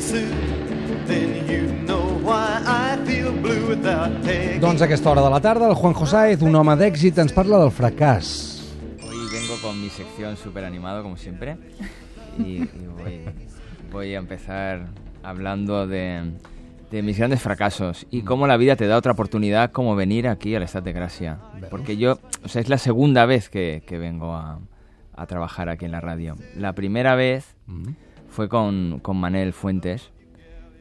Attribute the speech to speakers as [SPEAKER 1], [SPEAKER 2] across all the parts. [SPEAKER 1] suit, then you know why I feel blue without taking.
[SPEAKER 2] Doncs a aquesta hora de la tarda, el Juanjo Sáez, un home d'èxit, ens parla del fracàs.
[SPEAKER 3] Hoy vengo con mi sección súper animado, como siempre. Y, y voy, voy a empezar hablando de, de mis grandes fracasos y cómo la vida te da otra oportunidad como venir aquí al Estat de Gracia. Porque yo, o sea, es la segunda vez que, que vengo a, a trabajar aquí en la radio. La primera vez fue con, con Manel Fuentes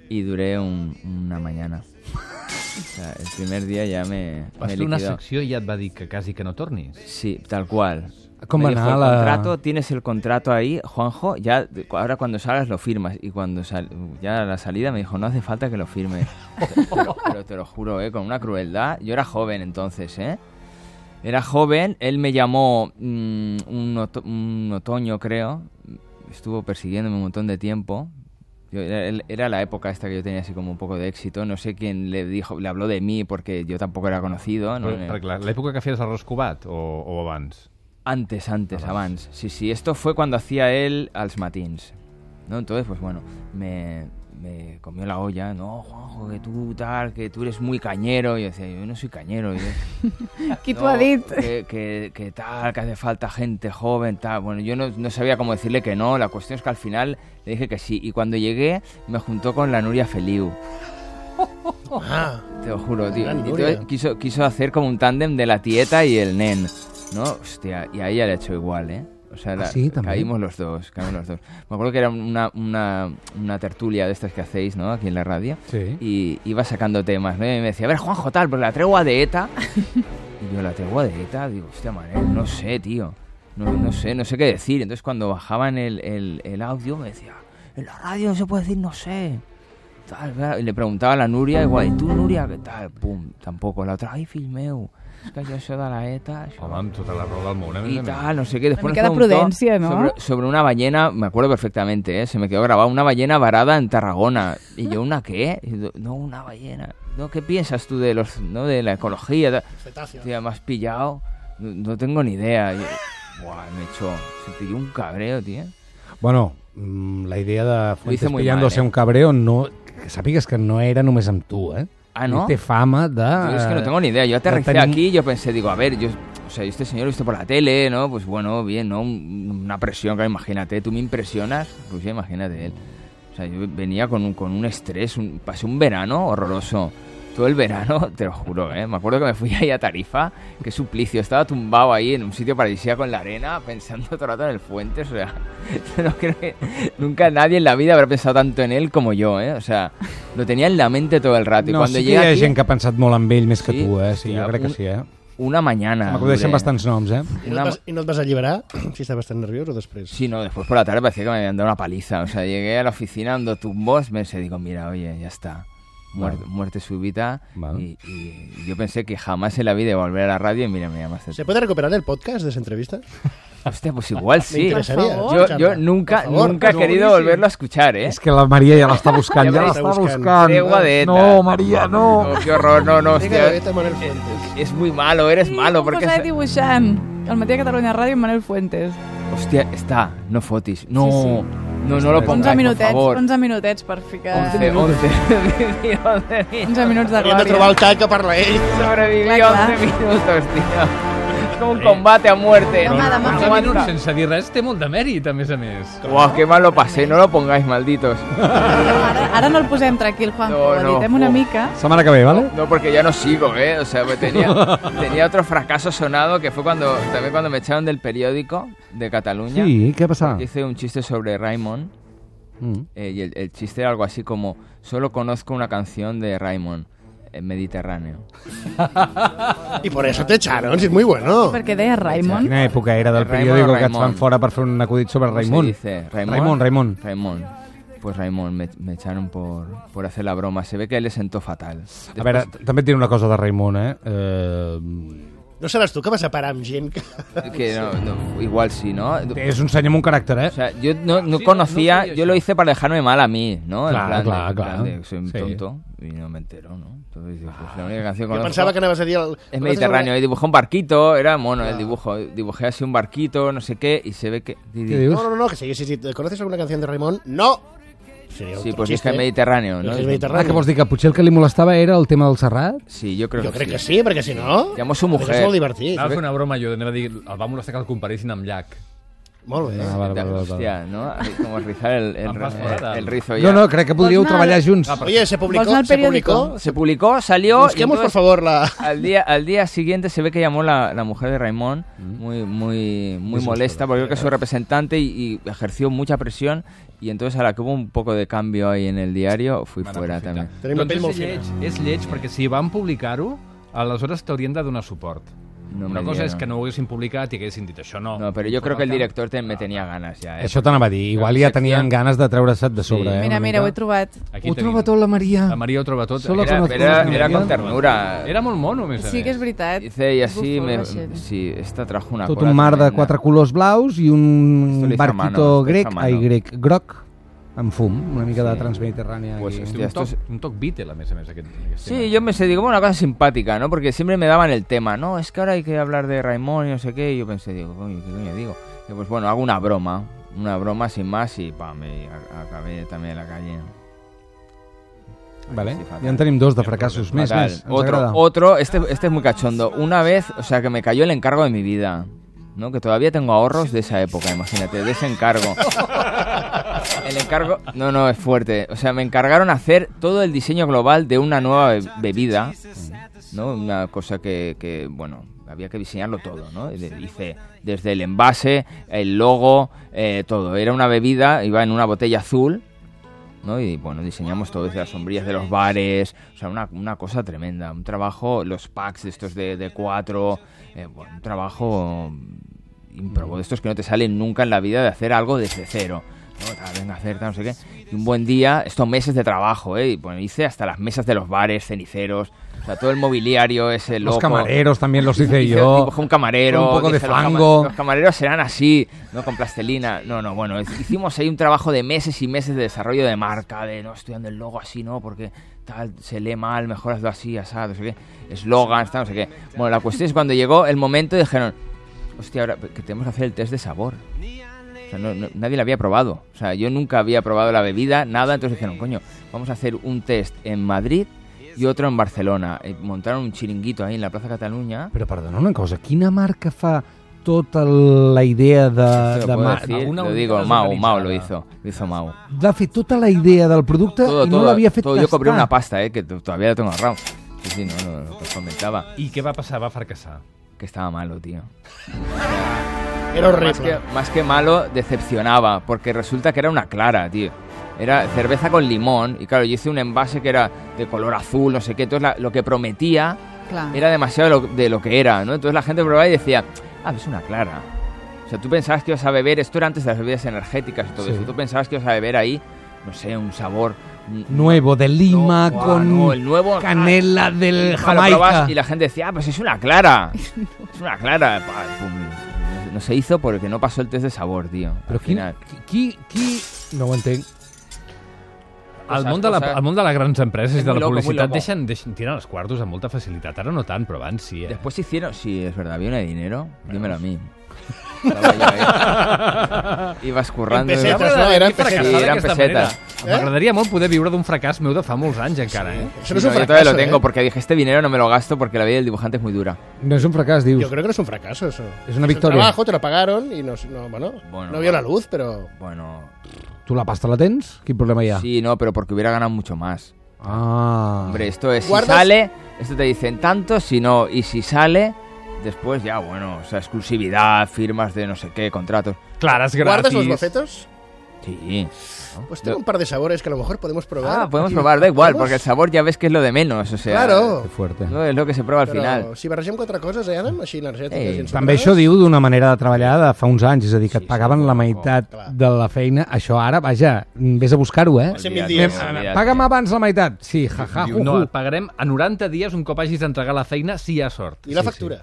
[SPEAKER 3] y duré un- una mañana. O sea, el primer día ya me,
[SPEAKER 4] Vas
[SPEAKER 3] me
[SPEAKER 4] fer una
[SPEAKER 3] liquidó.
[SPEAKER 4] secció i ja et va dir que quasi que no tornis.
[SPEAKER 3] Sí, tal cual.
[SPEAKER 2] Com
[SPEAKER 3] Me
[SPEAKER 2] va
[SPEAKER 3] dijo,
[SPEAKER 2] anar
[SPEAKER 3] el
[SPEAKER 2] la-
[SPEAKER 3] contrato, tienes el contrato ahí, Juanjo, ya cu- ahora cuando salgas lo firmas. Y cuando sal- ya a la salida me dijo, no hace falta que lo firmes. pero, pero te lo juro, eh, con una crueldad. Yo era joven entonces, ¿eh? Era joven, él me llamó mm, un, oto- un otoño, creo. Estuvo persiguiéndome un montón de tiempo. Yo- era, él- era la época esta que yo tenía así como un poco de éxito. No sé quién le dijo, le habló de mí porque yo tampoco era conocido. ¿no?
[SPEAKER 4] Però, perquè clar, l'època que feies arròs cubat o, o abans?
[SPEAKER 3] Antes, antes,
[SPEAKER 4] Abans.
[SPEAKER 3] avance. Sí, sí, esto fue cuando hacía él als matins. ¿No? Entonces, pues bueno, me, me comió la olla, no, Juanjo, que tú tal, que tú eres muy cañero. Y yo decía, yo no soy cañero. Yo,
[SPEAKER 5] Qui t'ho
[SPEAKER 3] "No,
[SPEAKER 5] ha dit?
[SPEAKER 3] Que, que- que tal, que hace falta gente joven, tal. Bueno, yo no, no sabía cómo decirle que no. La cuestión es que al final le dije que sí. Y cuando llegué, me juntó con la Nuria Feliu.
[SPEAKER 2] Ah.
[SPEAKER 3] Te lo juro, tío.
[SPEAKER 6] Gran
[SPEAKER 3] Y
[SPEAKER 6] Nuria.
[SPEAKER 3] entonces quiso, quiso hacer como un tándem de la tieta y el nen, ¿no? Hostia, y a ella le ha hecho igual, ¿eh? O sea, la-
[SPEAKER 2] ¿Ah, sí, también.
[SPEAKER 3] caímos los dos, caímos los dos. Me acuerdo que era una, una, una tertulia de estas que hacéis, ¿no? Aquí en la radio.
[SPEAKER 2] Sí.
[SPEAKER 3] Y iba sacando temas, ¿no? Y me decía, a ver, Juanjo, tal, pues la tregua de ETA. Y yo, la tregua de ETA, digo, hostia, Manel, no sé, tío. No, no sé, no sé qué decir. Entonces cuando bajaban el, el, el audio me decía, en la radio no se puede decir no sé. Tal, tal. I li preguntava a la Núria, igual, i tu, Núria, què tal? Pum, tampoc. La otra, ai, fill meu, és que jo això de la ETA... Això...
[SPEAKER 4] Home, amb tota la raó del món, a més
[SPEAKER 3] Y
[SPEAKER 4] a més.
[SPEAKER 3] tal, no sé qué. Después
[SPEAKER 5] mica
[SPEAKER 3] nos
[SPEAKER 5] de
[SPEAKER 3] preguntó
[SPEAKER 5] prudencia, ¿no?
[SPEAKER 3] Sobre, sobre una ballena, me acuerdo perfectamente, ¿eh? se me quedó grabada, una ballena varada en Tarragona. Y yo, ¿una qué? Y yo, no, una ballena. No, ¿Qué piensas tú de los no de la ecología?
[SPEAKER 6] Cetáceo.
[SPEAKER 3] Hostia, me has pillado. No, no tengo ni idea. Y yo, Buah, me echó. Se pilló un cabreo, tío.
[SPEAKER 2] Bueno, mm, la idea de Fuentes
[SPEAKER 3] muy
[SPEAKER 2] pillándose
[SPEAKER 3] mal, eh?
[SPEAKER 2] un cabreo, no, que sàpigues que no era només amb tu, eh?
[SPEAKER 3] Ah, ¿no?
[SPEAKER 4] Este
[SPEAKER 2] Ell té fama de...
[SPEAKER 3] Yo es que no tengo ni idea. Yo aterricé
[SPEAKER 2] tenim-
[SPEAKER 3] aquí y yo pensé, digo, a ver, yo, o sea, yo este señor lo he visto por la tele, ¿no? Pues bueno, bien, ¿no? Un- Una presión, claro, imagínate, tú me impresionas, pues ya imagínate él. O sea, yo venía con un, con un estrés, un- pasé un verano horroroso. Todo el verano, te lo juro, ¿eh? Me acuerdo que me fui ahí a Tarifa, qué suplicio. Estaba tumbado ahí en un sitio paradisíaco en la arena, pensando todo el rato en el Fuente, o sea... No creo que nunca nadie en la vida habrá pensado tanto en él como yo, ¿eh? O sea, lo tenía en la mente todo el rato. y
[SPEAKER 2] No,
[SPEAKER 3] cuando
[SPEAKER 2] sí que hi
[SPEAKER 3] llegué
[SPEAKER 2] ha
[SPEAKER 3] aquí-
[SPEAKER 2] gent que ha pensat molt en ell més que
[SPEAKER 3] Sí,
[SPEAKER 2] tu, eh? Sí,
[SPEAKER 3] hòstia,
[SPEAKER 2] jo crec que
[SPEAKER 3] un-
[SPEAKER 2] sí, eh?
[SPEAKER 3] Una mañana.
[SPEAKER 2] M'acudeixen
[SPEAKER 3] hombre.
[SPEAKER 2] bastants noms, eh?
[SPEAKER 6] I no,
[SPEAKER 3] Una-
[SPEAKER 6] et vas, I no et vas alliberar si estàs bastant nerviós o després?
[SPEAKER 3] Sí, no, después por la tarde parecía que me habían dado una paliza. O sea, llegué a la oficina dando tumbos, me se digo, mira, oye, ya está. Muerte,
[SPEAKER 2] Vale.
[SPEAKER 3] muerte súbita.
[SPEAKER 2] Vale.
[SPEAKER 3] Y, y yo pensé que jamás en la vida iba a volver a la radio y mira, me llamaste.
[SPEAKER 6] ¿Se puede recuperar el podcast de esa entrevista?
[SPEAKER 3] Hostia, pues igual sí.
[SPEAKER 6] interesaría
[SPEAKER 5] favor.
[SPEAKER 3] Yo,
[SPEAKER 6] escucharla.
[SPEAKER 3] yo nunca,
[SPEAKER 6] Por favor.
[SPEAKER 3] nunca he querido volverlo a escuchar, ¿eh?
[SPEAKER 2] És que la Maria ja l'està buscant,
[SPEAKER 3] Ja
[SPEAKER 2] ja
[SPEAKER 6] veuràs.
[SPEAKER 2] l'està
[SPEAKER 6] Buscant.
[SPEAKER 2] buscant.
[SPEAKER 3] Tregua de ETA.
[SPEAKER 2] No, Maria, no.
[SPEAKER 3] No, qué horror, no, no,
[SPEAKER 6] Venga,
[SPEAKER 3] hostia.
[SPEAKER 6] vete a Manuel Fuentes.
[SPEAKER 3] Es muy malo, eres malo.
[SPEAKER 5] Un
[SPEAKER 3] porque
[SPEAKER 5] posat dibuixant. El matí a Catalunya Ràdio, amb Manel Fuentes.
[SPEAKER 3] Hostia, está, no fotis. No,
[SPEAKER 5] Sí, sí.
[SPEAKER 3] no, no lo pongas,
[SPEAKER 5] 11
[SPEAKER 3] por
[SPEAKER 5] minutets,
[SPEAKER 3] favor.
[SPEAKER 5] 11 minutets per ficar...
[SPEAKER 3] 11, 11. Vivi 11 minutos.
[SPEAKER 5] 11 minuts de
[SPEAKER 6] Hauríem de trobar
[SPEAKER 5] glòria.
[SPEAKER 6] el xac que parla ell.
[SPEAKER 3] Sobreviví
[SPEAKER 5] Clar, clar.
[SPEAKER 3] 11 minutos, tío. Es como un combate a muerte.
[SPEAKER 5] Demà, demà
[SPEAKER 3] Eh. No
[SPEAKER 5] fem
[SPEAKER 3] aguanta.
[SPEAKER 4] minuts sense dir res té molt de mèrit, a més a més.
[SPEAKER 3] Guau, qué mal lo pasé, no lo pongáis, malditos.
[SPEAKER 5] Ara, ara no el posem tranquil, Juanjo.
[SPEAKER 3] No,
[SPEAKER 5] No,
[SPEAKER 3] no.
[SPEAKER 5] Editem una mica.
[SPEAKER 2] Setmana que ve, vale?
[SPEAKER 3] No, porque ya no sigo, ¿eh? O sea, pues tenía, tenía otro fracaso sonado que fue cuando también cuando me echaron del periódico de Cataluña.
[SPEAKER 2] Sí, Ah. què passarà?
[SPEAKER 3] Hice un chiste sobre Raymond
[SPEAKER 2] Mm.
[SPEAKER 3] eh, y el, el chiste era algo así como, solo conozco una canción de Raymond, eh, Mediterráneo.
[SPEAKER 6] Y por eso te echaron, si es muy bueno.
[SPEAKER 5] Perquè deia Raimon.
[SPEAKER 2] Quina època era del
[SPEAKER 3] Raimon o
[SPEAKER 2] periòdico que et
[SPEAKER 3] Raimon?
[SPEAKER 2] fan fora per fer un acudit sobre
[SPEAKER 3] ¿Cómo se
[SPEAKER 2] Raimon?
[SPEAKER 3] dice?
[SPEAKER 2] Raimon, Raimon.
[SPEAKER 3] Raimon. Pues Raimon, me, me echaron por, por hacer la broma. Se ve que le sentó fatal.
[SPEAKER 2] A veure, t- també et diré una cosa de Raimon, eh? eh?
[SPEAKER 6] No seràs tu que vas a parar amb gent que...
[SPEAKER 3] Que no- no, igual sí, ¿no?
[SPEAKER 2] És un senyor amb un caràcter, eh?
[SPEAKER 3] O sea, yo no, no
[SPEAKER 4] Sí, no- no
[SPEAKER 3] conocía,
[SPEAKER 4] sabía
[SPEAKER 3] yo lo
[SPEAKER 4] eso.
[SPEAKER 3] hice para dejarme mal a mí, ¿no?
[SPEAKER 2] Claro,
[SPEAKER 3] en plan, de-
[SPEAKER 2] claro,
[SPEAKER 3] en plan
[SPEAKER 2] claro.
[SPEAKER 3] de, soy un
[SPEAKER 2] Sí.
[SPEAKER 3] tonto y no me entero, ¿no? Entonces, digo, pues la única canción que
[SPEAKER 6] Jo
[SPEAKER 3] conozco
[SPEAKER 6] pensava que anaves a dir... El...
[SPEAKER 3] es Mediterráneo. Y dibujé un barquito, era mono el dibujo. Dibujé así un barquito, no sé qué, y se ve que...
[SPEAKER 2] Què dius?
[SPEAKER 6] No, no, no, que sí, sí, sí. ¿Conoces alguna canción de Raimón? No. Sería
[SPEAKER 3] Sí,
[SPEAKER 6] otro
[SPEAKER 3] pues es
[SPEAKER 6] xiste.
[SPEAKER 3] que es mediterráneo,
[SPEAKER 6] El
[SPEAKER 3] ¿no?
[SPEAKER 6] que es
[SPEAKER 2] Ah,
[SPEAKER 6] mediterráneo.
[SPEAKER 2] que vols dir que potser el que li molestava era el tema del Serrat?
[SPEAKER 3] Sí, yo creo
[SPEAKER 6] Jo
[SPEAKER 3] que
[SPEAKER 6] crec
[SPEAKER 3] sí.
[SPEAKER 6] que sí, perquè si no...
[SPEAKER 3] Llavors su
[SPEAKER 6] perquè
[SPEAKER 3] mujer.
[SPEAKER 6] És molt divertit.
[SPEAKER 2] Ah,
[SPEAKER 4] Anava a fer una broma jo, anava a dir, el va molestar que el comparessin amb Llach.
[SPEAKER 6] Molt bé.
[SPEAKER 2] Ah, vale, vale, vale, vale.
[SPEAKER 3] Hostia, ¿no? Como rizar el, el,
[SPEAKER 4] Em vas
[SPEAKER 3] el-
[SPEAKER 4] foradar.
[SPEAKER 3] el rizo ya.
[SPEAKER 2] No, no, crec que podríeu
[SPEAKER 5] Vols anar-
[SPEAKER 2] treballar junts.
[SPEAKER 4] Ah,
[SPEAKER 6] Oye, se
[SPEAKER 5] Vols anar
[SPEAKER 6] publicó,
[SPEAKER 5] al
[SPEAKER 6] se
[SPEAKER 5] periódico?
[SPEAKER 6] publicó...
[SPEAKER 3] Se publicó, salió. y
[SPEAKER 6] Busquemos, por
[SPEAKER 3] entonces-
[SPEAKER 6] favor, la...
[SPEAKER 3] al día, al día siguiente se ve que llamó la, la mujer de Raimón,
[SPEAKER 4] Mm.
[SPEAKER 3] muy, muy, muy molesta, porque creo que es su representante y, y ejerció mucha presión. Y entonces, a la que hubo un poco de cambio ahí en el diario, fui fuera también.
[SPEAKER 6] Tenim la
[SPEAKER 4] doncs
[SPEAKER 6] pell
[SPEAKER 4] és
[SPEAKER 6] molt
[SPEAKER 4] lleig,
[SPEAKER 6] fina.
[SPEAKER 4] és lleig perquè si van publicar-ho, aleshores t'haurien de donar suport.
[SPEAKER 3] No
[SPEAKER 4] una
[SPEAKER 3] me
[SPEAKER 4] cosa és
[SPEAKER 3] dieron.
[SPEAKER 4] que no ho haguessin publicat i haguessin dit això no.
[SPEAKER 3] No, pero yo creo que el
[SPEAKER 4] Però
[SPEAKER 3] director te- me tenía ganas ya. ¿eh?
[SPEAKER 2] Això t'anava a dir. Igual ja tenien ganes de treure-se't de sobre,
[SPEAKER 3] Sí.
[SPEAKER 2] eh?
[SPEAKER 5] Mira,
[SPEAKER 2] una
[SPEAKER 5] mira, ho he
[SPEAKER 2] mica.
[SPEAKER 5] trobat.
[SPEAKER 4] Aquí
[SPEAKER 2] Ho
[SPEAKER 4] tenim.
[SPEAKER 2] troba tot la Maria.
[SPEAKER 4] Ah. La Maria ho troba tot.
[SPEAKER 2] Solo
[SPEAKER 4] era,
[SPEAKER 2] con
[SPEAKER 3] Era,
[SPEAKER 2] los
[SPEAKER 3] era,
[SPEAKER 2] ojos
[SPEAKER 3] era
[SPEAKER 2] me
[SPEAKER 3] con
[SPEAKER 2] miran.
[SPEAKER 3] ternura.
[SPEAKER 4] era molt mono, a més a
[SPEAKER 5] Sí que és
[SPEAKER 4] més.
[SPEAKER 5] veritat.
[SPEAKER 3] Dice, y así
[SPEAKER 5] Bufó
[SPEAKER 3] me.
[SPEAKER 5] el vaixell.
[SPEAKER 3] Sí, esta trajo una
[SPEAKER 2] Tot
[SPEAKER 3] cola
[SPEAKER 2] un mar de
[SPEAKER 3] tremenda.
[SPEAKER 2] quatre colors blaus i
[SPEAKER 3] Esto lo
[SPEAKER 2] un
[SPEAKER 3] hizo a mano,
[SPEAKER 2] barquito
[SPEAKER 3] esto lo hizo
[SPEAKER 2] grec,
[SPEAKER 3] a
[SPEAKER 2] ai,
[SPEAKER 3] mano.
[SPEAKER 2] grec, groc, amb fum, una mica de
[SPEAKER 3] Sí.
[SPEAKER 2] transmediterrània.
[SPEAKER 3] Pues
[SPEAKER 2] aquí.
[SPEAKER 3] hòstia,
[SPEAKER 4] Té un,
[SPEAKER 3] esto
[SPEAKER 4] toc,
[SPEAKER 3] es-
[SPEAKER 4] un toc Beatle, a més a més. Aquest, aquest tema.
[SPEAKER 3] Sí, yo me sé, digo, bueno, una cosa simpática, ¿no? Porque siempre me daban el tema, ¿no? Es que ahora hay que hablar de Raimón y no sé qué. Y yo pensé, digo, coño, ¿qué coño digo? Y pues bueno, hago una broma, una broma sin más y pam, y a- acabé también en la calle.
[SPEAKER 2] Vale.
[SPEAKER 3] Sí, fatal.
[SPEAKER 2] Ja en tenim dos de fracassos. Més,
[SPEAKER 3] Fatal.
[SPEAKER 2] més. Ens
[SPEAKER 3] Otro, oh,
[SPEAKER 2] agrada.
[SPEAKER 3] otro este, este es muy cachondo. Una vez, o sea, que me cayó el encargo de mi vida. ¿no? Que todavía tengo ahorros de esa época, imagínate, de ese encargo. El encargo, no, no, es fuerte. O sea, me encargaron hacer todo el diseño global de una nueva be- bebida, ¿no? Una cosa que, que, bueno, había que diseñarlo todo, ¿no? Y de- Hice desde el envase, el logo, eh, todo. Era una bebida, iba en una botella azul, ¿no? Y bueno, diseñamos todo desde las sombrillas de los bares, o sea, una, una cosa tremenda, un trabajo, los packs de estos de, de cuatro, eh, bueno, un trabajo improbo, de estos que no te salen nunca en la vida de hacer algo desde cero. ¿no? Tal, venga, hacer, tal, no sé qué. Y un buen día, estos meses de trabajo, ¿eh? Y, bueno, hice hasta las mesas de los bares, ceniceros, o sea, todo el mobiliario ese
[SPEAKER 2] Los
[SPEAKER 3] loco.
[SPEAKER 2] camareros también los hice
[SPEAKER 3] Dije,
[SPEAKER 2] yo.
[SPEAKER 3] dibujé un camarero.
[SPEAKER 2] Con un poco de
[SPEAKER 3] dije, los cama-
[SPEAKER 2] fango.
[SPEAKER 3] Los camareros serán así, ¿no? Con plastelina. No, no, bueno, es- hicimos ahí un trabajo de meses y meses de desarrollo de marca, de no estudiando el logo así, ¿no? Porque tal, se lee mal, mejor hazlo así, asado, no sé qué. Eslogans, tal, no sé qué. Bueno, la cuestión es cuando llegó el momento dijeron, hostia, ahora que tenemos que hacer el test de sabor. O sea, no- no- nadie la había probado. O sea, yo nunca había probado la bebida, nada. Entonces dijeron, coño, vamos a hacer un test en Madrid y otro en Barcelona. Y montaron un chiringuito ahí en la Plaza Cataluña.
[SPEAKER 2] Però perdona una cosa, quina marca fa tota la idea
[SPEAKER 3] Te
[SPEAKER 2] de...
[SPEAKER 3] lo
[SPEAKER 2] de
[SPEAKER 3] puedo
[SPEAKER 2] ma-
[SPEAKER 3] decir,
[SPEAKER 4] alguna
[SPEAKER 3] lo
[SPEAKER 4] unidad
[SPEAKER 3] digo, Mau, Mau lo
[SPEAKER 4] desorganizada.
[SPEAKER 3] hizo, lo hizo Mau.
[SPEAKER 2] va fer tota la idea del producte
[SPEAKER 3] Todo,
[SPEAKER 2] i no
[SPEAKER 3] todo,
[SPEAKER 2] l'havia fet
[SPEAKER 3] todo.
[SPEAKER 2] tastar.
[SPEAKER 3] yo cobré una pasta, eh, que t- todavía la tengo ahorrado. Sí, sí, no, no, lo que os comentaba,
[SPEAKER 4] I què va passar? Va fracassar.
[SPEAKER 3] que estaba malo, tío.
[SPEAKER 6] Era
[SPEAKER 3] Más que,
[SPEAKER 6] horrible.
[SPEAKER 3] más que malo, decepcionaba, porque resulta que era una clara, tío. Era cerveza con limón, y claro, yo hice un envase que era de color azul, no sé qué, entonces la- lo que prometía
[SPEAKER 5] Clar.
[SPEAKER 3] era demasiado de lo, de lo que era, ¿no? Entonces la gente probaba y decía, ah, es una clara. O sea, tú pensabas que ibas a beber, esto era antes de las bebidas energéticas y todo
[SPEAKER 2] Sí.
[SPEAKER 3] eso, tú pensabas que ibas a beber ahí, no sé, un sabor... un-
[SPEAKER 2] Nuevo de Lima
[SPEAKER 3] No,
[SPEAKER 2] con
[SPEAKER 3] no, el nuevo-
[SPEAKER 2] canela del
[SPEAKER 3] Cuando
[SPEAKER 2] Jamaica.
[SPEAKER 3] probabas Y la gente decía, ah, pues es una clara. Es una clara. Pa, pum. No se hizo porque no pasó el test de sabor, tío.
[SPEAKER 2] Però
[SPEAKER 3] al
[SPEAKER 2] qui,
[SPEAKER 3] final.
[SPEAKER 2] qui, qui, qui- No ho entenc.
[SPEAKER 4] El
[SPEAKER 3] Coses,
[SPEAKER 4] món, de la,
[SPEAKER 3] coses.
[SPEAKER 4] el món de les grans empreses i
[SPEAKER 3] És
[SPEAKER 4] de
[SPEAKER 3] muy
[SPEAKER 4] la
[SPEAKER 3] loco, muy
[SPEAKER 4] publicitat
[SPEAKER 3] loco.
[SPEAKER 4] deixen, deixen, tiren els quartos amb molta facilitat. Ara no tant, però abans sí. Eh?
[SPEAKER 3] Después hicieron, sí, es verdad, había una de dinero. Dímelo a mí. Estaba yo ahí. Ibas currando.
[SPEAKER 6] Empecé
[SPEAKER 3] y-
[SPEAKER 6] Pesetes, no? Eren Eh?
[SPEAKER 4] M'agradaria fracassar
[SPEAKER 3] pesetes. Sí, eren
[SPEAKER 4] d'aquesta
[SPEAKER 3] pesetes.
[SPEAKER 4] manera. M'agradaria molt poder viure d'un fracàs meu de fa molts anys encara.
[SPEAKER 6] Això
[SPEAKER 4] Eh?
[SPEAKER 6] no és
[SPEAKER 3] No,
[SPEAKER 6] un
[SPEAKER 3] yo todavía
[SPEAKER 6] fracaso,
[SPEAKER 3] lo tengo
[SPEAKER 6] eh?
[SPEAKER 3] porque dije, este dinero no me lo gasto porque la vida del dibujante es muy dura.
[SPEAKER 2] No és un fracàs, dius.
[SPEAKER 6] Yo creo que no es un fracaso eso.
[SPEAKER 2] Es una victoria.
[SPEAKER 6] trabajo, te lo pagaron y no, no, bueno,
[SPEAKER 3] Bueno,
[SPEAKER 6] no
[SPEAKER 3] bueno.
[SPEAKER 6] vio la luz, pero...
[SPEAKER 3] Bueno,
[SPEAKER 2] Tu la pasta la tens? Quin problema hi ha?
[SPEAKER 3] sí, no, pero porque hubiera ganado mucho más.
[SPEAKER 2] Ah.
[SPEAKER 3] Hombre, esto es si
[SPEAKER 6] Guardas-
[SPEAKER 3] sale, esto te dicen tanto, si no, y si sale, después ya, bueno, o sea, exclusividad, firmas de no sé qué, contratos.
[SPEAKER 4] Claras
[SPEAKER 6] ¿Guardas los
[SPEAKER 4] gratis.
[SPEAKER 6] bocetos?
[SPEAKER 3] Sí.
[SPEAKER 6] Pues tengo
[SPEAKER 3] Lo-
[SPEAKER 6] un par de sabores que a lo mejor podemos probar.
[SPEAKER 3] Ah, podemos
[SPEAKER 6] Aquí.
[SPEAKER 3] probar, da igual,
[SPEAKER 6] ¿Podemos?
[SPEAKER 3] porque el sabor ya ves que es lo de menos, o sea.
[SPEAKER 6] Claro.
[SPEAKER 2] Que fuerte.
[SPEAKER 3] No, es lo que se prueba al
[SPEAKER 6] Però
[SPEAKER 3] final.
[SPEAKER 6] si barregem quatre coses, eh, Adam? Així energètiques
[SPEAKER 3] Ei,
[SPEAKER 6] i ensucrades.
[SPEAKER 2] També això diu d'una manera de treballar de fa uns anys, és a dir, que et pagaven la meitat
[SPEAKER 6] Clar.
[SPEAKER 2] de la feina. Això ara, vaja, vés a buscar-ho, eh?
[SPEAKER 6] Cent vint
[SPEAKER 3] Olvídate,
[SPEAKER 6] dies.
[SPEAKER 3] olvídate.
[SPEAKER 2] Paga'm abans la meitat. Sí, ja, ja,
[SPEAKER 4] Diu,
[SPEAKER 2] ju,
[SPEAKER 4] no,
[SPEAKER 2] ju.
[SPEAKER 4] et pagarem a 90 dies un cop hagis d'entregar la feina, si hi ha sort.
[SPEAKER 6] I la factura.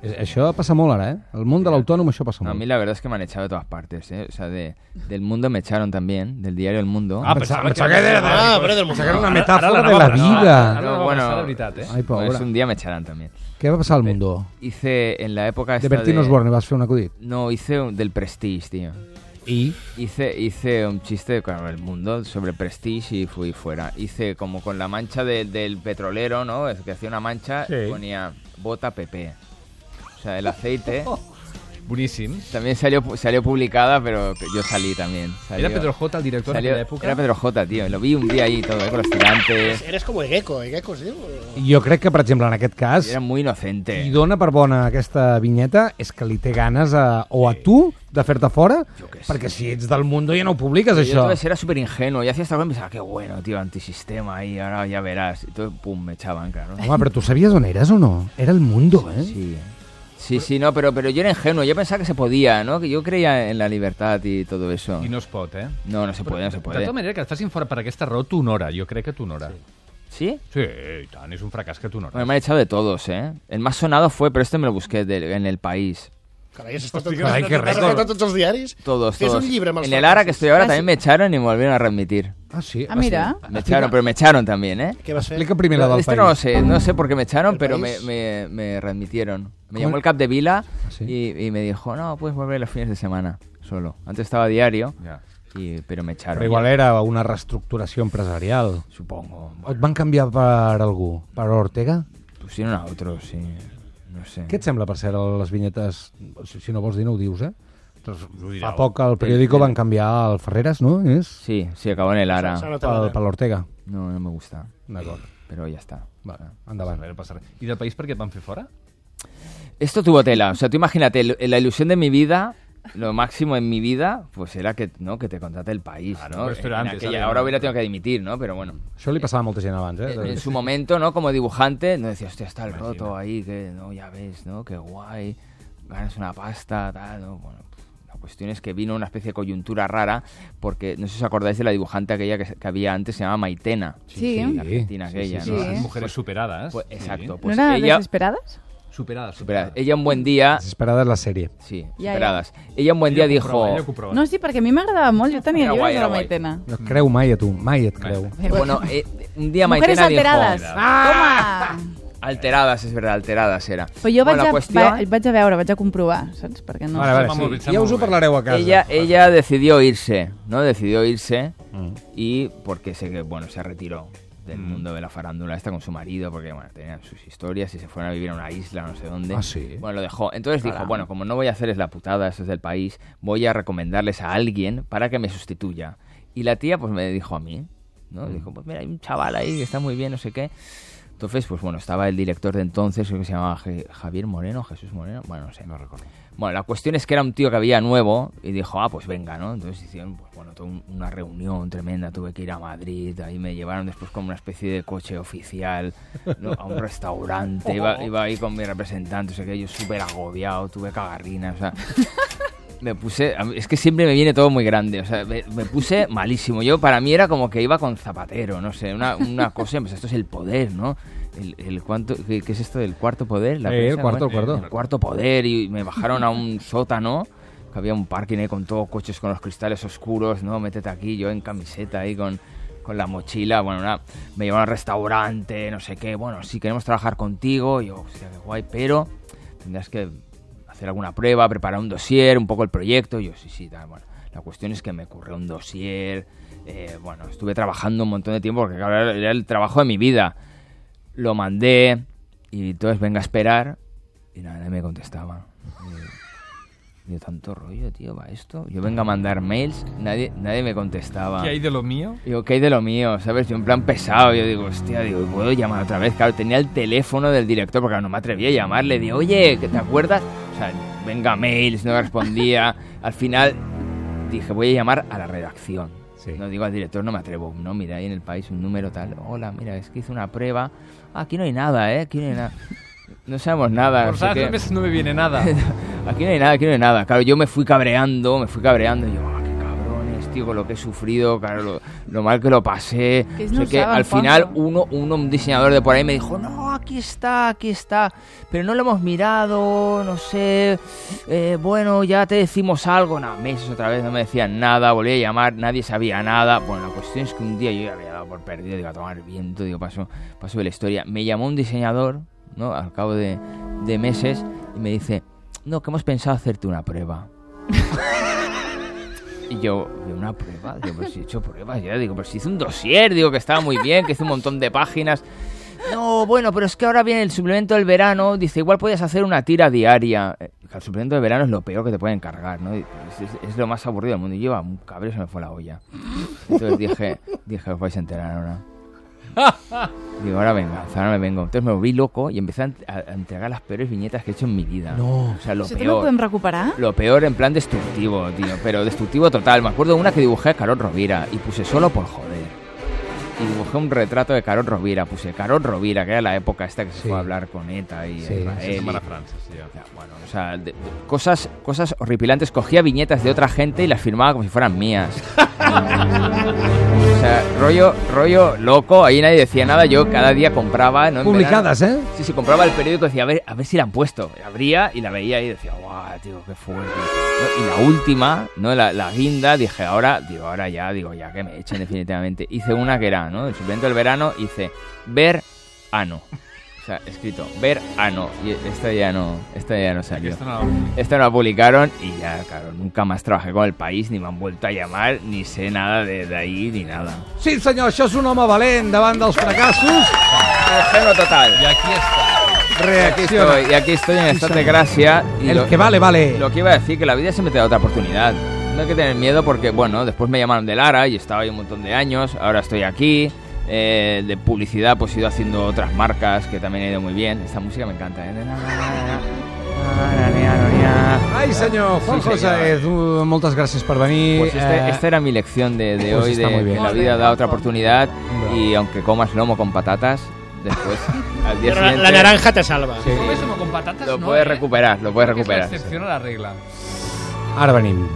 [SPEAKER 2] Eh, Això passa molt ara, eh? Al món de l'autònom això passa
[SPEAKER 3] No, a mí
[SPEAKER 2] molt.
[SPEAKER 3] la verdad es que me han echado de todas partes, ¿eh? O sea, de, del mundo me echaron también, del diario El Mundo.
[SPEAKER 4] Ah, pensava, pensava que era...
[SPEAKER 6] Ah, però del museu.
[SPEAKER 2] Era una
[SPEAKER 4] Ara
[SPEAKER 2] metàfora de
[SPEAKER 4] la
[SPEAKER 2] la
[SPEAKER 4] nova, no,
[SPEAKER 2] vida.
[SPEAKER 4] ara- no, no,
[SPEAKER 3] bueno,
[SPEAKER 4] pasar de veritat, ¿eh?
[SPEAKER 2] Ay, pobre.
[SPEAKER 3] pues un día me echarán también.
[SPEAKER 2] Què va passar al Mundo?
[SPEAKER 3] Hice en la época esta
[SPEAKER 2] De Bertín
[SPEAKER 3] Eh, de-
[SPEAKER 2] Osborne vas fer un acudit.
[SPEAKER 3] No, hice un- del Prestige, tío.
[SPEAKER 4] Y
[SPEAKER 3] Hice, hice un chiste con el mundo sobre Prestige y fui fuera. Hice como con la mancha de- del petrolero, ¿no? Es que hacía una mancha
[SPEAKER 4] Sí.
[SPEAKER 3] y ponía bota PP. O sea, el aceite.
[SPEAKER 4] boníssim.
[SPEAKER 3] También salió, salió publicada, pero yo salí también. Salió,
[SPEAKER 4] Era Pedro J el director
[SPEAKER 3] salió-
[SPEAKER 4] en aquella època.
[SPEAKER 3] Era Pedro J, tío. Lo vi un día ahí todo, eh, con los tirantes.
[SPEAKER 6] Eres com el gecko, el gecko es diu?
[SPEAKER 2] Jo crec que, per exemple, en aquest cas,
[SPEAKER 3] Era muy inocente.
[SPEAKER 2] qui dona per bona aquesta vinyeta és que li té ganes a, o a tu de fer-te fora, perquè si ets del mundo ja no ho publiques,
[SPEAKER 3] Yo
[SPEAKER 2] això.
[SPEAKER 3] entonces era súper ingenuo y hacía esta cosa y pensaba, qué bueno, tío, antisistema ahí, ahora ya verás. Y todo, pum, me echaban, claro.
[SPEAKER 2] Home, però tu sabies on eres o no? Era el mundo, eh?
[SPEAKER 3] Sí, sí, sí, no, pero, pero yo era ingenuo, yo pensaba que se podía, ¿no? Que yo creía en la libertad y todo eso.
[SPEAKER 4] I no es pot, eh?
[SPEAKER 3] No, no se puede, no se
[SPEAKER 4] De
[SPEAKER 3] puede.
[SPEAKER 4] tota manera, que et facin fora per aquesta raó t'honora. Jo crec que t'honora. Sí.
[SPEAKER 3] ¿Sí?
[SPEAKER 4] sí, i tant, és un fracàs que t'honora.
[SPEAKER 3] Bueno, me han echado de todos, ¿eh? El más sonado fue, pero este me lo busqué del- en El País.
[SPEAKER 6] Carai, has estat,
[SPEAKER 2] Carai, que
[SPEAKER 6] has
[SPEAKER 2] rècord.
[SPEAKER 6] estat a tots els diaris?
[SPEAKER 3] Todos,
[SPEAKER 6] Fes
[SPEAKER 3] todos.
[SPEAKER 6] un llibre amb els
[SPEAKER 3] en el ARA que
[SPEAKER 6] fracassos.
[SPEAKER 3] estoy ahora
[SPEAKER 5] Ah,
[SPEAKER 3] también
[SPEAKER 5] sí.
[SPEAKER 3] me echaron y me volvieron a remitir.
[SPEAKER 2] Ah, sí?
[SPEAKER 5] Ah, mira.
[SPEAKER 3] Me echaron, pero me echaron también, ¿eh?
[SPEAKER 6] Què vas fer?
[SPEAKER 2] Explica primer la del
[SPEAKER 3] Este
[SPEAKER 2] país.
[SPEAKER 3] no lo sé, no sé por qué me echaron,
[SPEAKER 6] El
[SPEAKER 3] pero me,
[SPEAKER 6] país.
[SPEAKER 3] me, me readmitieron. Me
[SPEAKER 2] ¿Cómo
[SPEAKER 3] llamó
[SPEAKER 2] el-
[SPEAKER 3] el cap de Vila
[SPEAKER 4] Ah,
[SPEAKER 2] sí?
[SPEAKER 3] y, y me dijo, no, puedes volver los fines de semana solo. Antes estaba diario,
[SPEAKER 4] Ja.
[SPEAKER 3] y, pero me echaron.
[SPEAKER 2] Però igual era una reestructuració empresarial.
[SPEAKER 3] Supongo.
[SPEAKER 2] O et van canviar per algú? Per Ortega?
[SPEAKER 3] Pusieron a otros, sí. No sé.
[SPEAKER 2] Què et sembla, per cert, les vinyetes... Si, si no vols dir, no ho dius, eh?
[SPEAKER 4] Ho direu.
[SPEAKER 2] Fa poc al periòdico van canviar el Ferreras, no? És?
[SPEAKER 3] Sí, sí, acabó en el
[SPEAKER 6] S'ha
[SPEAKER 3] Ara.
[SPEAKER 6] notat
[SPEAKER 2] Pel,
[SPEAKER 6] ara.
[SPEAKER 2] per l'Ortega.
[SPEAKER 3] No, no me gusta,
[SPEAKER 2] D'acord.
[SPEAKER 3] pero ya está.
[SPEAKER 2] Vale,
[SPEAKER 4] Va,
[SPEAKER 2] endavant.
[SPEAKER 4] Ah, no passa res. I del país per què et van fer fora?
[SPEAKER 3] Esto tuvo tela. O sea, tú imagínate, el- la ilusión de mi vida, lo máximo en mi vida, pues era que, ¿no? que te contrate el país.
[SPEAKER 4] Claro,
[SPEAKER 3] ¿no?
[SPEAKER 4] pero esto era
[SPEAKER 3] En
[SPEAKER 4] antes,
[SPEAKER 3] aquella-
[SPEAKER 4] ¿sabes?
[SPEAKER 3] ahora hubiera tenido que dimitir, ¿no? Pero bueno.
[SPEAKER 2] Això li passava a molta gent abans,
[SPEAKER 3] En
[SPEAKER 2] eh?
[SPEAKER 3] en su momento, ¿no? Como dibujante, no decía, hostia, está el roto ahí, que no, ya ves, ¿no? Qué guay, ganas una pasta, tal, ¿no? Bueno, la cuestión es que vino una especie de coyuntura rara, porque no sé si os acordáis de la dibujante aquella que, se- que había antes, se llamaba Maitena.
[SPEAKER 5] Sí.
[SPEAKER 3] La argentina aquella,
[SPEAKER 5] sí,
[SPEAKER 3] ¿no?
[SPEAKER 5] sí.
[SPEAKER 4] Les Mujeres superades.
[SPEAKER 3] Pues, exacto,
[SPEAKER 5] ¿No
[SPEAKER 3] pues
[SPEAKER 5] era
[SPEAKER 3] ella,
[SPEAKER 5] desesperadas?
[SPEAKER 4] Superades,
[SPEAKER 3] espera,
[SPEAKER 4] superades.
[SPEAKER 3] ella un buen día,
[SPEAKER 2] Desesperada és la sèrie.
[SPEAKER 3] sí,
[SPEAKER 5] Ya,
[SPEAKER 3] esperadas. Ella un buen día
[SPEAKER 4] Ella ho comprova,
[SPEAKER 3] dijo,
[SPEAKER 4] ella ho comprova.
[SPEAKER 5] No, sí, perquè a mi m'agradava molt. Jo tenia
[SPEAKER 3] Era
[SPEAKER 5] llibres
[SPEAKER 3] guai,
[SPEAKER 5] de
[SPEAKER 3] era
[SPEAKER 5] la
[SPEAKER 3] guai.
[SPEAKER 5] Maitena.
[SPEAKER 2] No et creu mai a tu, Mm. mai et creu.
[SPEAKER 3] eh, bueno, eh, un día
[SPEAKER 5] Mujeres
[SPEAKER 3] Maitena dijo,
[SPEAKER 5] alteradas. Toma!
[SPEAKER 3] alteradas, es verdad, alteradas era.
[SPEAKER 5] Però jo vaig,
[SPEAKER 3] ah! Bueno, la
[SPEAKER 5] a,
[SPEAKER 3] cuestión-
[SPEAKER 5] Pues va, vaig a veure, vaig a comprovar, saps? Perquè no...
[SPEAKER 2] Vale,
[SPEAKER 4] Sembla molt
[SPEAKER 2] vale,
[SPEAKER 4] bé,
[SPEAKER 2] sí.
[SPEAKER 4] sembla
[SPEAKER 2] Ja us ho
[SPEAKER 4] molt bé.
[SPEAKER 2] parlareu a casa.
[SPEAKER 3] Ella,
[SPEAKER 5] eh,
[SPEAKER 3] ella decidió irse, ¿no? Decidió irse
[SPEAKER 2] Mm.
[SPEAKER 3] y porque se, que- bueno, se retiró del mundo de la farándula esta con su marido porque bueno, tenían sus historias y se fueron a vivir a una isla, no sé dónde.
[SPEAKER 2] Ah, sí.
[SPEAKER 3] Bueno, lo dejó. Entonces dijo, bueno, como no voy a hacerles la putada, eso es del país, voy a recomendarles a alguien para que me sustituya. Y la tía pues me dijo a mí, ¿no?
[SPEAKER 2] Mm.
[SPEAKER 3] Dijo, pues mira, hay un chaval ahí que está muy bien, no sé qué. Entonces, pues bueno, estaba el director de entonces, creo que se llamaba Je- Javier Moreno, Jesús Moreno, bueno, no sé.
[SPEAKER 4] No recordo.
[SPEAKER 3] Bueno, la cuestión es que era un tío que había nuevo y dijo, ah, pues venga, ¿no? Entonces hicieron, pues bueno, toda un- una reunión tremenda, tuve que ir a Madrid, ahí me llevaron después como una especie de coche oficial ¿no? a un restaurante, iba, iba ahí con mi representante, o sea que yo súper agobiado, tuve cagarrina, o sea... Me puse, a mí- es que siempre me viene todo muy grande, o sea, me, me puse malísimo. Yo, para mí era como que iba con zapatero, no sé, una, una cosa, pues esto es el poder, ¿no? El, el cuánto, ¿qué, qué es esto del cuarto poder?
[SPEAKER 2] Eh, el
[SPEAKER 3] prensa,
[SPEAKER 2] cuarto,
[SPEAKER 3] ¿cómo es?
[SPEAKER 2] el cuarto.
[SPEAKER 3] El cuarto poder y me bajaron a un sótano, que había un parking ahí con todos coches con los cristales oscuros, ¿no? Métete aquí, yo en camiseta ahí con, con la mochila, bueno, una- me llevaron al restaurante, no sé qué, bueno, sí, queremos trabajar contigo, y yo, hostia, qué guay, pero tendrás que hacer alguna prueba, preparar un dossier, un poco el proyecto, y yo, sí, sí, tal, bueno. La cuestión es que me ocurrió un dossier, eh, bueno, estuve trabajando un montón de tiempo porque claro, era- era el trabajo de mi vida lo mandé y entonces venga a esperar y nada, nadie me contestaba. Y yo, tanto rollo, tío, va esto. Yo venga a mandar mails, nadie, nadie me contestaba.
[SPEAKER 4] Què hi ha de lo mío?
[SPEAKER 3] Digo, ¿qué hay de lo mío? ¿Sabes? Yo en plan pesado. Yo digo, hostia, digo, ¿puedo llamar otra vez? Claro, tenía el teléfono del director porque no me atrevía a llamarle. Digo, oye, ¿que ¿te acuerdas? O sea, venga mails, no respondía. Al final dije, voy a llamar a la redacción.
[SPEAKER 2] Sí.
[SPEAKER 3] No digo al director, no me atrevo. No, mira, ahí en el país un número tal. Hola, mira, es que hice una prueba. Ah, aquí no hay nada, ¿eh? Aquí no hay nada. No sabemos nada.
[SPEAKER 4] Por
[SPEAKER 3] no sé
[SPEAKER 4] saber,
[SPEAKER 3] qué.
[SPEAKER 4] no, me- no me viene nada.
[SPEAKER 3] Aquí no hay nada, aquí no hay nada. Claro, yo me fui cabreando, me fui cabreando. Y yo, ah, qué cabrones, tío, con lo que he sufrido, claro, lo, lo mal que lo pasé.
[SPEAKER 5] Que
[SPEAKER 3] O sea
[SPEAKER 5] no
[SPEAKER 3] que
[SPEAKER 5] usaban,
[SPEAKER 3] al final
[SPEAKER 5] Juanjo.
[SPEAKER 3] uno, uno, un diseñador de por ahí me dijo, no, aquí está, aquí está, pero no lo hemos mirado, no sé, eh, bueno, ya te decimos algo. No, meses otra vez no me decían nada, volví a llamar, nadie sabía nada. Bueno, la cuestión es que un día yo ya había dado por perdido, digo, a tomar viento, digo, paso, paso de la historia. Me llamó un diseñador, ¿no? Al cabo de, de meses, y me dice, no, que hemos pensado hacerte una prueba. Y yo, de una prueba, digo, pero si he hecho pruebas ya, digo, pero si hice un dossier, digo que estaba muy bien, que hice un montón de páginas. No, bueno, pero es que ahora viene el suplemento del verano, dice, igual puedes hacer una tira diaria. Eh, El suplemento del verano es lo peor que te pueden cargar, ¿no? Y Es, es- es lo más aburrido del mundo. Y lleva un cabrón, se me fue la olla. Entonces dije, dije, os vais a enterar ahora. Digo, ahora venganza, ahora me vengo. Entonces me volví loco y empecé a, a- a entregar las peores viñetas que he hecho en mi vida.
[SPEAKER 2] No.
[SPEAKER 3] O sea, lo
[SPEAKER 5] Això també ho
[SPEAKER 3] peor.
[SPEAKER 5] podem recuperar?
[SPEAKER 3] Lo peor en plan destructivo, tío. Pero destructivo total. Me acuerdo de una que dibujé a Carol Rovira y puse solo por joder. Y dibujé un retrato de Carol Rovira. Puse Carol Rovira, que era la época esta que se
[SPEAKER 2] Sí.
[SPEAKER 3] fue a hablar con ETA y
[SPEAKER 2] Sí.
[SPEAKER 3] Israel.
[SPEAKER 2] Sí,
[SPEAKER 3] y-
[SPEAKER 7] Mala Francis, tío.
[SPEAKER 3] Ya, bueno, o sea, de- de- cosas, cosas horripilantes. Cogía viñetas de otra gente y las firmaba como si fueran mías. o sea, rollo, rollo loco. Ahí nadie decía nada. Yo cada día compraba. ¿no? En verano-
[SPEAKER 2] Publicades, eh?
[SPEAKER 3] Sí, sí, compraba el periódico y decía, a ver, a ver si la han puesto. Abría y la veía y decía, guau, tío, qué fuerte. ¿No? Y la última, ¿no? La, la guinda, dije, ahora, digo, ahora ya, digo, ya que me echen definitivamente. Hice una que era, ¿no? El suplemento del verano hice ver ano. O sea, escrito, ver ano. Y esta ya no, esta ya no salió.
[SPEAKER 4] Aquesta no la-
[SPEAKER 3] Esta no la publicaron y ya, claro, nunca más trabajé con el país, ni me han vuelto a llamar, ni sé nada de, de ahí, ni nada.
[SPEAKER 2] Sí, senyor, això és un home valent davant dels fracassos.
[SPEAKER 3] Ajeno total.
[SPEAKER 4] I aquí està.
[SPEAKER 3] Aquí estoy, y aquí estoy en estado de gracia. y
[SPEAKER 2] El
[SPEAKER 3] lo-
[SPEAKER 2] que vale, vale.
[SPEAKER 3] Lo que iba a decir, que la vida siempre te da otra oportunidad. No hay que tener miedo porque, bueno, después me llamaron de Lara y estaba ahí un montón de años, ahora estoy aquí. eh, de publicidad pues he ido haciendo otras marcas que también he ido muy bien. Esta música me encanta, ¿eh?
[SPEAKER 2] Ai, senyor, Juan
[SPEAKER 3] Sí,
[SPEAKER 2] José,
[SPEAKER 3] senyor.
[SPEAKER 2] tu, moltes gràcies per venir. Eh,
[SPEAKER 3] Pues este- esta era mi lección de, de
[SPEAKER 2] pues
[SPEAKER 3] hoy,
[SPEAKER 2] está
[SPEAKER 3] de
[SPEAKER 2] muy bien.
[SPEAKER 3] que la vida da otra oportunidad
[SPEAKER 2] Bravo.
[SPEAKER 3] y aunque comas lomo con patatas, después al día
[SPEAKER 6] Pero la,
[SPEAKER 3] siguiente
[SPEAKER 6] la naranja te salva.
[SPEAKER 2] Sí.
[SPEAKER 4] Com és, home, con patates,
[SPEAKER 3] lo
[SPEAKER 4] no,
[SPEAKER 3] puedes
[SPEAKER 4] eh?
[SPEAKER 3] recuperar, lo puedes
[SPEAKER 4] Crec que és
[SPEAKER 3] recuperar.
[SPEAKER 4] l'excepció a la regla.
[SPEAKER 2] Ara venim.